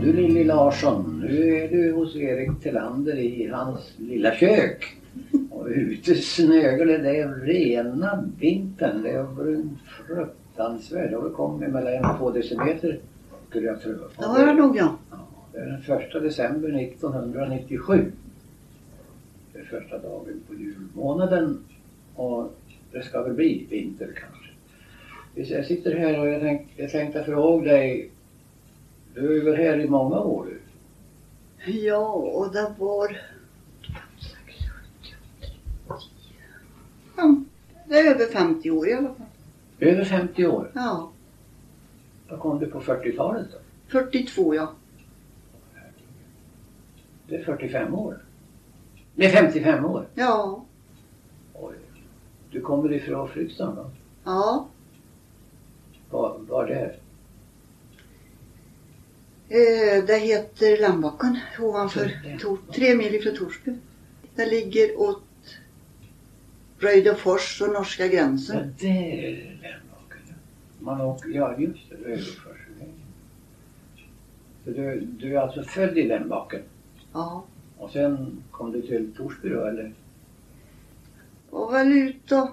du Lilly Larsson, nu är du hos Erik Tillander i hans lilla kök. Och ute snöglar det, det är rena vintern. Det har varit en fruktansvärd. Det har väl kommit mellan en och två decimeter skulle jag tro. Det har jag nog ja. Det är den första december 1997. Det är första dagen på julmånaden och det ska väl bli vinter kanske. Visst, Jag sitter här och jag tänkte, jag tänkte fråga dig. Du har ju varit här i många år. du. Ja, och det var... Ja, det är över 50 år i alla fall. Över 50 år. Ja, Då kom du på 40-talet då. 42 ja. Det är 45 år. Nej, 55 år. Ja, Oj. Du kommer ifrån Fryksdal då? ja. Var, var det? Eh, det heter Landbacken ovanför, Tor, tre mil ifrån Torsby. Det ligger åt Röjdefors och norska Så gränsen. det är Lennhagen. Man åker, ja just det, Rödforsvägen. Så du, du är alltså född i Lennbacken Ja. och sen kom du till Torsby då eller? Och väl ut och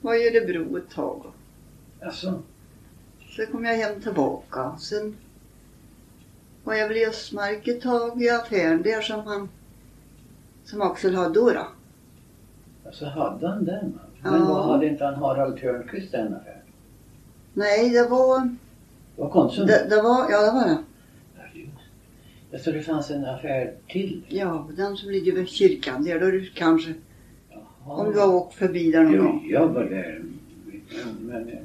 var i Örebro ett tag. Alltså, Sen kom jag hem tillbaka. Sen var jag väl i Östmark ett tag i affären där som han som Axel hade då. då. alltså hade han den? Men Ja. vad hade inte han Harald Törnqvist den affären? Nej, det var... Det var Konsum? Det, det var... Ja, det var det. Ja, just det. Jag tror det fanns en affär till. Ja, den som ligger vid kyrkan där då du kanske... Jaha. Om du har åkt förbi där någon Jo, gång. jag var där. Men, men, eh,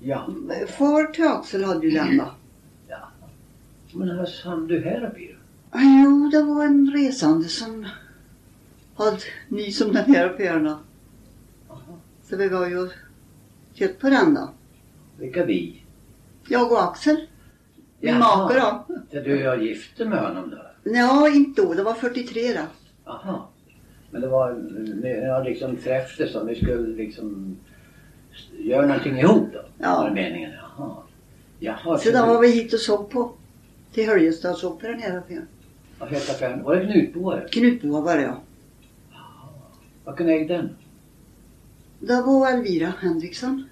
ja. Far till Axel hade ju den då. Men vad hann du här uppe i då? Ah, Jo, det var en resande som hade ny som den här affären då. Jaha. Så vi var ju och tittade på den då. Vilka vi? Jag och Axel. Min Jaha. make då. Det du, jag gifte med honom då? Ja, inte då. Det var 43 då. Aha. Men det var, ni har liksom träffats och ni skulle liksom göra någonting ihop då? Ja. Var det meningen? Jaha. Jaha. Så då var vi hit och såg på. Till Höljesdalsoperan här uppe. Vad hette affären? Var det Knutboare? Knutboa var det ja. Vad kunde ägde den? Det var Elvira Henriksson.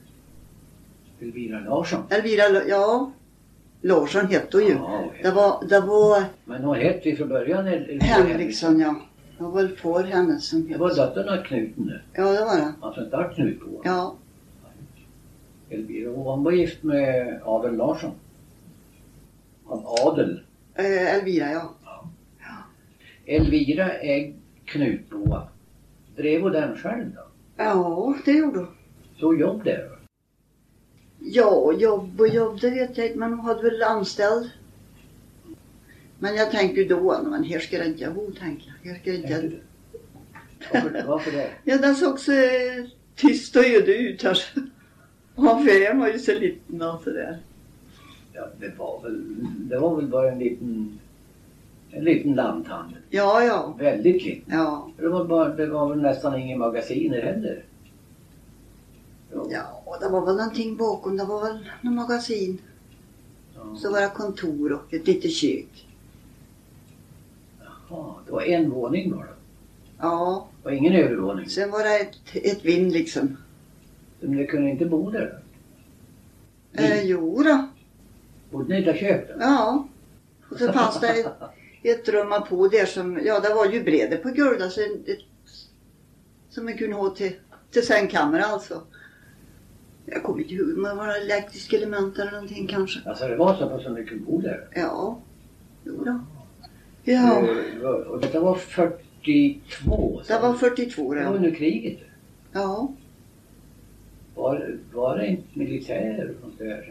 Elvira Larsson? Elvira, L- ja. Larsson hette hon ju. Ja, okej. Det var, det var Men hon hette ju från början El- Elvira Henriksson ja. Det var väl får henne som Det hette. var dottern av Knut nu. Ja, det var det. Alltså inte av Knutboare. Ja. Elvira. Och hon var gift med Adel Larsson. Av Adel. Eh, Elvira ja. Elvira ägde Knutboa. Drev hon den själv då? Ja, det gjorde hon. Så jobb där då? Ja, jobb och jobb, det vet jag inte. Men hon hade väl anställd. Men jag tänker ju då, men här ska det inte bo, tänker jag. Här ska det inte... Varför, varför det? Ja, den såg så eh, tyst och öde ut här. Och Affären var ju så liten och sådär. Ja, det, var väl, det var väl bara en liten, en liten lanthandel. Ja, ja, Väldigt liten. ja. Det var, bara, det var väl nästan inga magasiner heller. Ja. Ja, och det var väl någonting bakom. Det var väl något magasin. Så var det kontor och ett litet kök. Jaha, det var en våning bara. Ja, Och ingen övervåning. sen var det ett, ett vind liksom. Men det kunde inte bo där. Eh, jo då. Bodde ni i ett kök då? ja. Och så fanns det ett, ett rum på där som, ja det var ju breder på golvet. Så en- ett, som man kunde ha till, till sängkammaren alltså. Jag kommer inte ihåg, men var det elektriska element eller någonting kanske? Alltså det var så pass att ni kunde bo där? Ja, jo då. Ja, Det var- Och detta var 42? sa det var du? 42 Det var då. under kriget. Ja, Var, var det inte militär och sånt där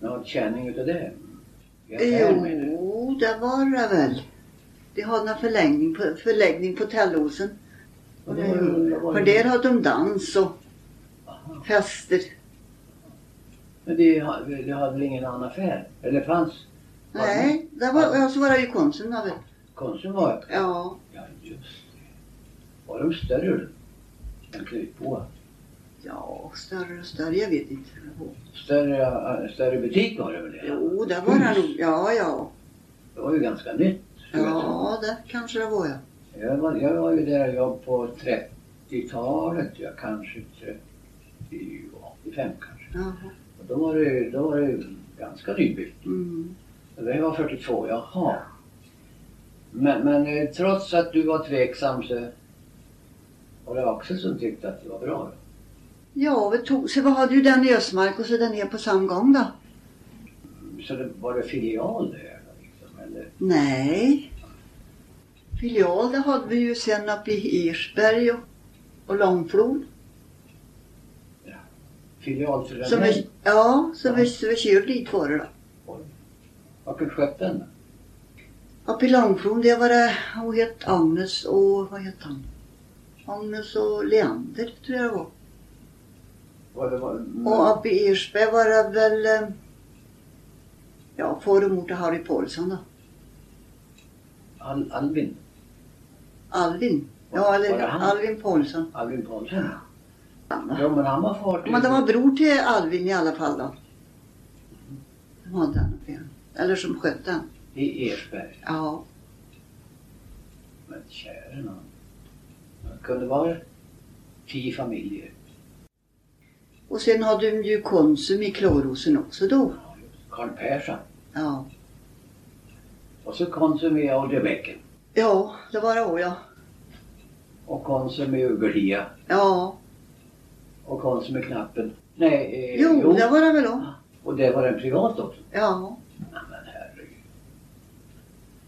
som någon känning utav det? I affär med det? jo det var det väl. Det hade en förlängning på, förläggning på Tellosen. Och det var ju- det var ju- För där hade de dans och Aha. fester. Men det, ha- det hade väl ingen annan affär? Eller fanns? var det Nej, det var, ja, så var det ju Konsum då väl. Konsum var öppet? Ja, Ja, just det. Var de större än Knutboa? Ja, större och större, jag vet inte. Större, eh, större butik var det väl? det? Jo, det var det nog. Ja, ja. Det var ju ganska nytt. skulle jag tro. Ja, det kanske det var ja. Jag var, jag var ju där jag på 30-talet, ja, kanske 35 kanske. Jaha. Och då var det, ju- då var det ju ganska nybyggt. Mm. Och Det var 42, jaha. Men, men eh, trots att du var tveksam så var det Axel som tyckte att det var bra. då. Ja, vi tog, så vi hade ju den i Ösmark och så den här på samma gång då. Så det, var det filial där? då, Liksom, eller? Nej. Filial det hade vi ju sen uppe i Ersberg och, och Långflod. Filial till den Så här? vi, ja, så Ja. vi, så vi körde dit var det då. Vart sköt den? då? Uppe i Långflod det var det, hon hette Agnes och vad hette han? Agnes och Leander tror jag det var. Var det, mm, var, men, Och uppe i Ersberg var det väl eh, ja, far och mor till Harry Paulsson då. Al, Albin? Alvin. Var Ja, det eller han? Alvin Paulsson. Alvin Paulsen? Han, va? Ja, men han var far till... Men det var bror till Alvin i alla fall då. De hade han uppe igen. Eller som skötte han. I Ersberg. Ja. Men käre nån. Det kunde vara tio familjer. Och sen hade de ju Konsum i Klårosen också då. Karl Persson. Ja. Och så Konsum i Audiobäcken. Ja, det var det också ja. Och Konsum i Ugerlia. Ja. Och Konsum i Knappen. Nej, eh, Jo, det var det väl då. Och det var en privat också. Ja. Nej, men herregud.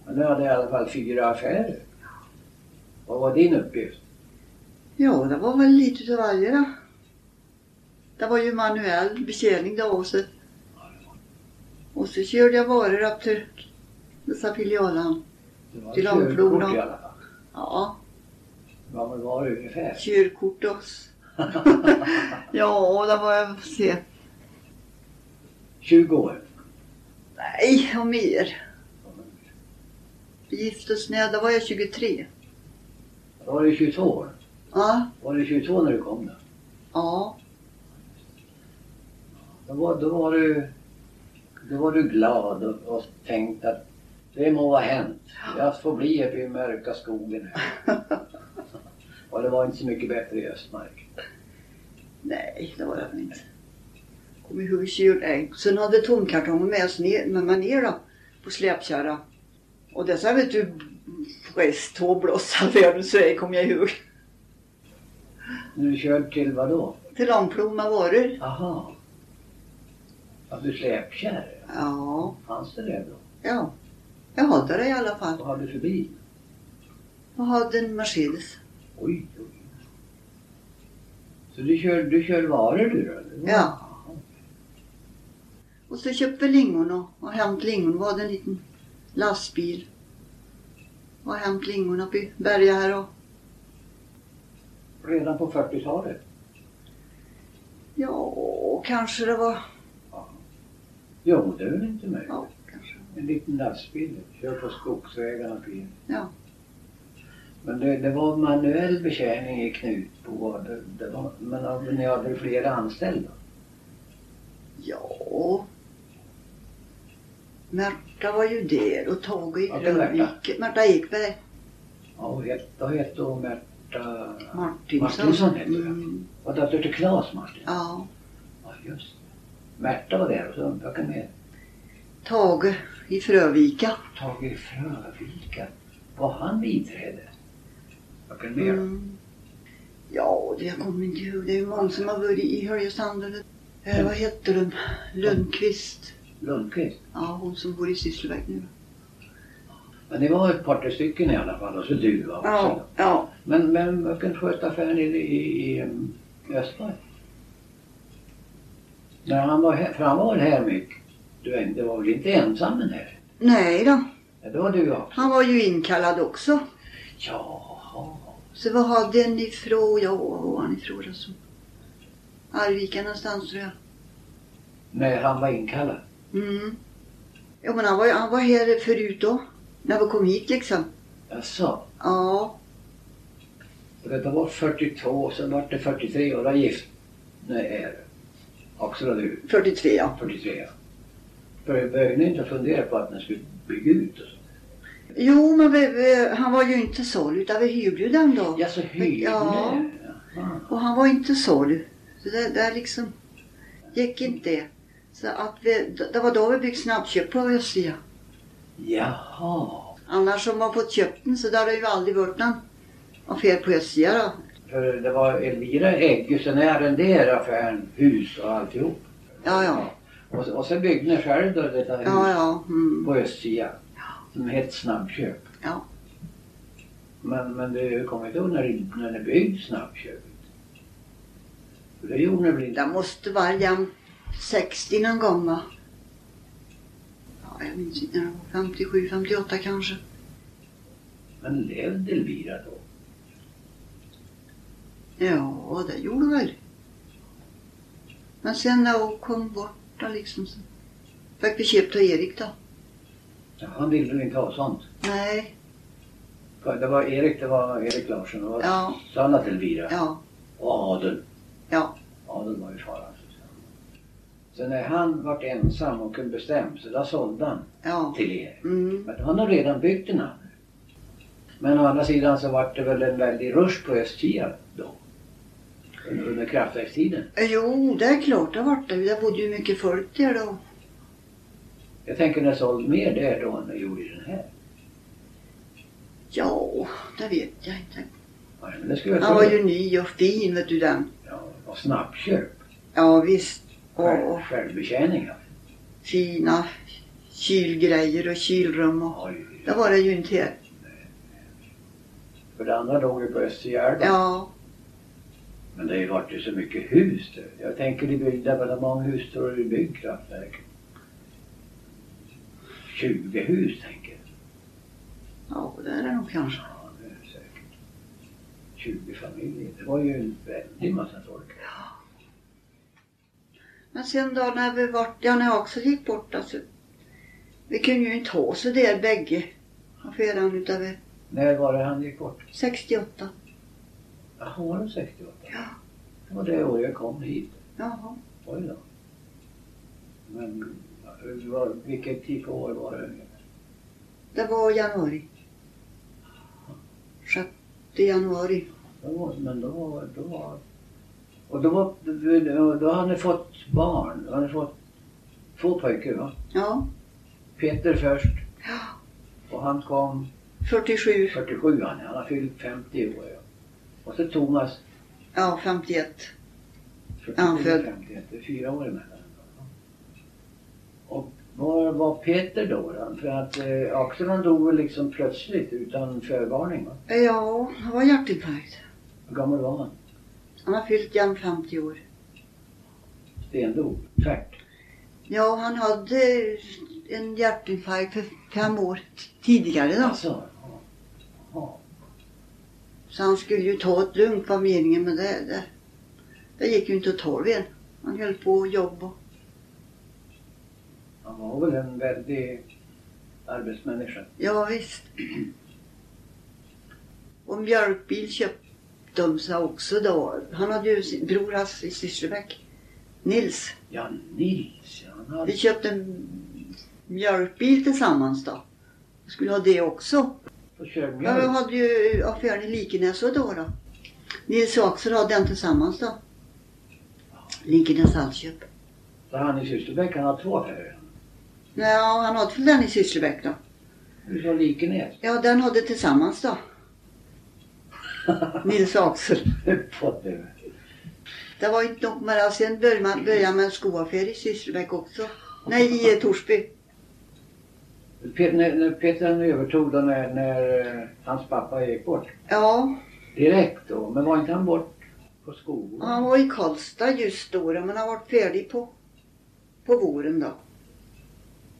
Men nu hade jag i alla fall fyra affärer. Vad var din uppgift? Ja, det var väl lite utav varje då. Det var ju manuell betjäning då och så. Och så körde jag varor upp till dessa filialen. Det var Till körkort Långflora. i alla fall. Ja, Vad var det var ungefär? körkort också. ja, det var jag se. 20 år. Nej, och mer. Vi gifte oss när jag- då var jag 23. Då var du 22 år. Ja, Var du 22 när du kom då? ja, Då var, då var, du, då var du glad och, och tänkte att det må vara hänt. Jag får bli uppe i mörka skogen här. och det var inte så mycket bättre i Östmark. nej, det var det väl inte. Kommer ihåg vi körde en. Sen hade vi tomkartongen med oss ner, med mig ner då, på släpkärra. Och dessa vet du, rest två blåsa världens väg kommer jag ihåg. När du körde till vad då? Till Långflod med varor. Aha. Att du släpkärr? Ja, Fanns det det då? ja. Jag hade det i alla fall. Vad hade du för bil? Jag hade en Mercedes. Oj, oj. Så du kör, du kör varor du då? eller? Ja. Och så köpte vi lingon och, och hämtade lingon. Var det en liten lastbil. Och hämtade lingon uppe i Berga här och Redan på 40-talet? ja, kanske det var, Jo, det är väl inte möjligt. ja, kanske. En liten lastbil, kör på skogsvägarna. på in. Ja. Men det, det var manuell betjäning i Knutbo. Det, det var, men hade- ni hade flera anställda? Ja. Märta var ju där och Tage i Ja, det är Märta. Rönnvik. Märta Ekberg. Ja, och het, då hette hon Märta... Martinsson. Martinsson heter jag. mm, Var dotter till Claes Martin? Ja. Ja, just det. Märta var där och så jag kan med. Tage i Frövika. Tage Frövika. Var han biträde? Jag kan med. Mm. Ja, det jag kommer inte ihåg. Det är ju många som har varit i Höljesand. eller- Mm. Eh, vad hette de? Lundqvist. Lundqvist. Ja, hon som bor i Sysslebäck nu. Men det var ett par tre stycken i alla fall och så du va, också. Ja, ja. Men, men vilken sköt affären i, i, i um, Östberg? När han var här, för han var väl här mycket? Du var inte- var väl inte ensam den här? Nej då, Ja, det var du ja. han var ju inkallad också. Jaha. Så vad hade han ifrån, ja, var var han ifrån alltså? Arvika någonstans tror jag. När han var inkallad. Mm. Ja, men han var, ju- han var här förut då. När vi kom hit liksom. Jaså? Ja, Det var 42, sen var det 43 och då gift, Nej, är det. Axel du, 43 ja. 43. Bör- Började ni inte att fundera på att ni skulle bygga ut och så? Jo, men vi, vi, han var ju inte såld utan vi hyrde ju den då. Ja, så hyrde Ja. ni? Jaha. Och han var inte såld. Så det, det liksom gick inte det. Så att vi, det var då vi byggde snabbköp på Össia. Jaha. Annars om man fått köpt den så där har det ju aldrig varit någon affär på Össia då. För det var Elvira ägde, sen arrenderade affären hus och alltihop. Ja, ja. Och, och sen byggde ni själv då detta hus Ja, ja. Mm. på östsidan. Som hette Snabbköp. Ja. Men, men du kommer inte ihåg när, ni- när ni byggde Snabbköpet? För det gjorde ni väl inte? Det måste vara jämnt 60 någon gång va? Ja, jag minns inte när det var. 57, 58 kanske. Men levde Elvira då? Ja, det gjorde väl. Men sen när hon kom bort då liksom så fick vi köpt av Erik då. Ja, Han ville ju inte ha sånt. Nej, För Det var Erik, det var Erik Larsson och Ja. Sanna till Elvira. ja, Och Adel. Ja. Adel var ju faran. Så när han vart ensam och kunde bestämma sig, då sålde han ja. till er. Mm. Men han har redan byggt en hamn. Men å andra sidan så vart det väl en väldig rush på Östkia då. Under, under kraftverkstiden. Jo, det är klart det vart det. Det bodde ju mycket folk där då. Jag tänker när sålde mer där då än jag gjorde i den här. Ja, det vet jag inte. Ja, men det skulle jag Han var tro. ju ny och fin vet du den. Ja, och snabbköp. Ja visst. Själv, Och, och Självbetjäning. ja. fina kylgrejer och kylrum och Oj. det var det ju inte här. För det andra låg ju på Östergärd. Ja, Men det har ju varit ju så mycket hus där. Jag tänker det byggda, men hur många hus tror du det byggt kraftverk? 20 hus tänker jag. ja det är det nog kanske. Ja, det är säkert. 20 familjer. Det var ju en väldig massa folk. Men sen då när vi vart, ja när jag också gick bort alltså. Vi kunde ju inte ha så där bägge. Affären utav det. När var det han gick bort? 68. Jaha, var det 68? Ja. Det var det år jag kom hit. Jaha. Oj då. Men ja, det var, vilken tid på år var det? Det var januari. 6 januari. Då var, men då var... Då var och då, var, då- då hade ni fått barn. Då hade ni fått två pojkar va? Ja. Peter först ja. och han kom 47. 47 han, han har fyllt 50 år. Ja. Och så Thomas Ja, 51. 47, född. 50, det är fyra år emellan. Och var var Peter då? då? För att eh, Axel han dog väl liksom plötsligt utan förvarning va? Ja, det var hjärtinfarkt. Hur gammal var han? Han har fyllt jämnt 50 år. Stendog? Tvärt? Ja, han hade en hjärtinfarkt för fem år tidigare då. Alltså, ja. Ja. Så han skulle ju ta ett lugnt var meningen men det, det, det gick ju inte åt tolv Han höll på och jobba. Han var väl en väldig arbetsmänniska. Ja, visst. Och mjölkbil köpte de sig också då. Han hade ju sin bror Hasse i Sysslebäck. Nils. Ja, Nils ja, han hade... Vi köpte en mjölkbil tillsammans då. Vi skulle ha det också. Och körde Ja, vi mjölk. hade ju affären i Likenäs och då då. Nils och Axel hade den tillsammans då. Likenäs Hallköp. Så han i Sysslebäck, han hade två affärer. Ja, han hade väl den i Sysslebäck då. Du sa Likenäs. Ja, den hade tillsammans då. Nils och Axel. Fått det. Det var inte nog med det. Alltså, Sen började man börja med en skoaffär i Sysslebäck också. Nej, i eh, Torsby. Peter, när, när Peter han övertog då när, när eh, hans pappa gick bort. Ja, Direkt då, men var inte han bort på och skolan? han var i Karlstad just då men han var färdig på, på våren då.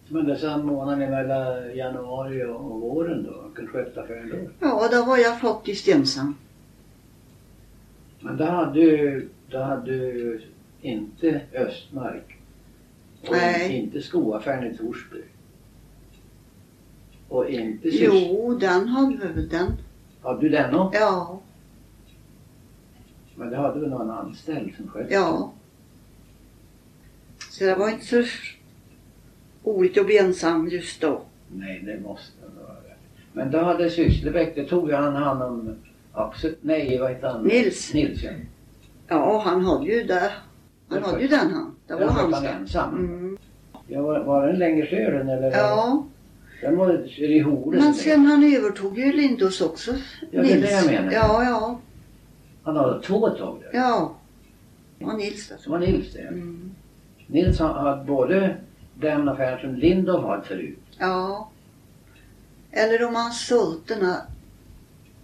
Men det sa månaden mellan januari och, och våren då, han kunde sköta affären då. Ja, då var jag faktiskt ensam. Men då hade ju, då hade ju inte Östmark och Nej. inte skoaffären i Torsby. Och inte Sys- Jo, den hade vi väl den. Hade du den också? Ja. Men det hade väl någon anställd som skötte Ja. Så det var inte så roligt att bli ensam just då. Nej, det måste det vara. Men då hade Sysslebäck, det tog ju han hand om Axel, nej vad heter han? Nils. Nils ja. Ja, han hade ju det. Han hade ju den han. Det var Den skötte hans. han ensam. Mm. Ja, var, var den länge sören eller? Ja, Den var i Horus. men sen han övertog ju Lindås också. Ja, det är det jag menar. Ja, ja, Han hade två tag där. ja. Det var Nils det. Så var Nils det. Mm. Nils har hade både den affär som Lindov hade förut. Ja. Eller om han sålt den här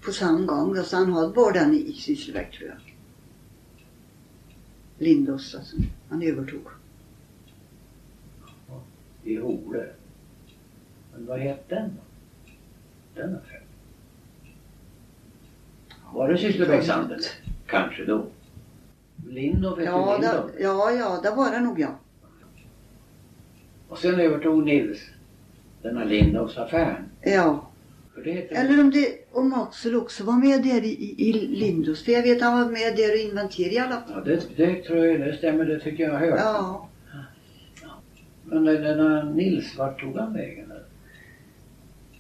på samma gång. Alltså han hade bara den i Sysslebäck tror jag. Lindås alltså. Han övertog. i Hole. Men vad hette den då? Den affären? Var det Sysslebäckshandeln? Kanske då. Lindov hette Ja, Lindov. det, ja, ja, det var det nog ja. Och sen övertog Nils denna Lindovs affären. Ja. För det hette Eller om, det, om Axel också var med där i, i- i Lindås. För jag vet han var med där och inventerade i alla fall. Ja, det, det tror jag, det stämmer, det tycker jag har hört. Ja. Men den- denna Nils, vart tog han vägen?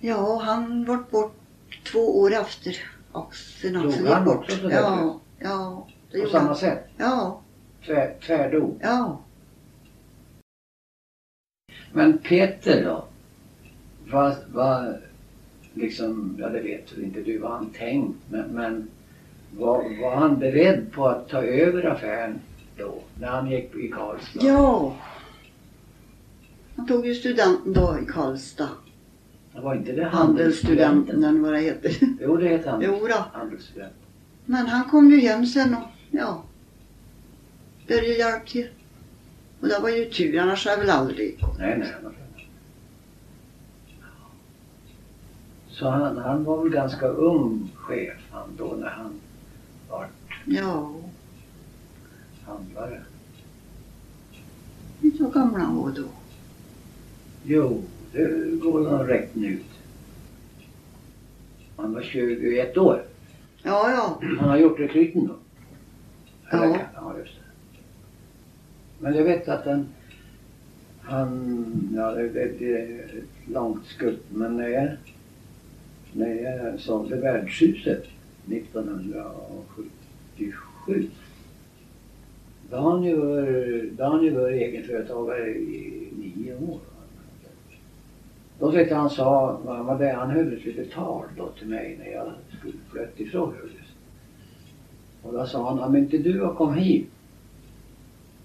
Ja, han var bort två år efter Axel. Dog Axel han gick bort. också så där ja, ja. Det På gjorde samma han. sätt? Ja, Tvär, tvärdog. ja. Men Peter då? Vad, vad, liksom, ja det vet väl inte du vad han tänkt, men, men var, var han beredd på att ta över affären då? När han gick i Karlstad? Ja. Han tog ju studenten då i Karlstad. Det var inte det Handelsstudenten handelsstudenten? eller vad det heter. Jo, det heter han. Jo då. Handelsstudent. Men han kom ju hem sen och ja. Började hjälpa till. Och det var ju tur, annars hade jag väl aldrig Nej, nej. han var född. Så han, han var väl ganska ung chef han då när han var Ja, handlare? inte så gammal han var då. Jo, det går nog rätt ut. Han var 21 år. Ja, ja. Han har gjort rekryten då. Ja. kan- ja, just det. Men jag vet att han... Han... Ja, det, det, det är ett långt skutt. Men när jag, när jag sålde värdshuset 1977 då har han ju varit- då har han ju varit egenföretagare i nio år. Då tyckte han sa, han var där, han höll ett litet tal då till mig när jag skulle flytta ifrån Höljes. Och då sa han, om inte du har kommit hit,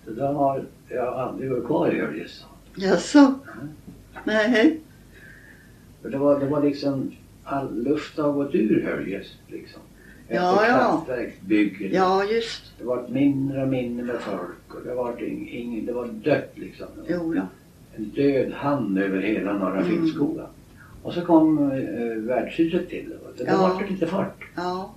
så då har jag aldrig varit kvar i Höljes. sa han. Jaså? Nej. För det var, det var liksom, all luft har gått ur Höljes liksom. Efter Ja, ja. kraftverksbygget. Ja, just. Det var mindre och mindre med folk och det var, ing, ing, det var dött liksom. Jo då. en död hand över hela norra Mm. Finnskoga. Och så kom eh, värdshuset till och det Ja. var lite fart. Ja.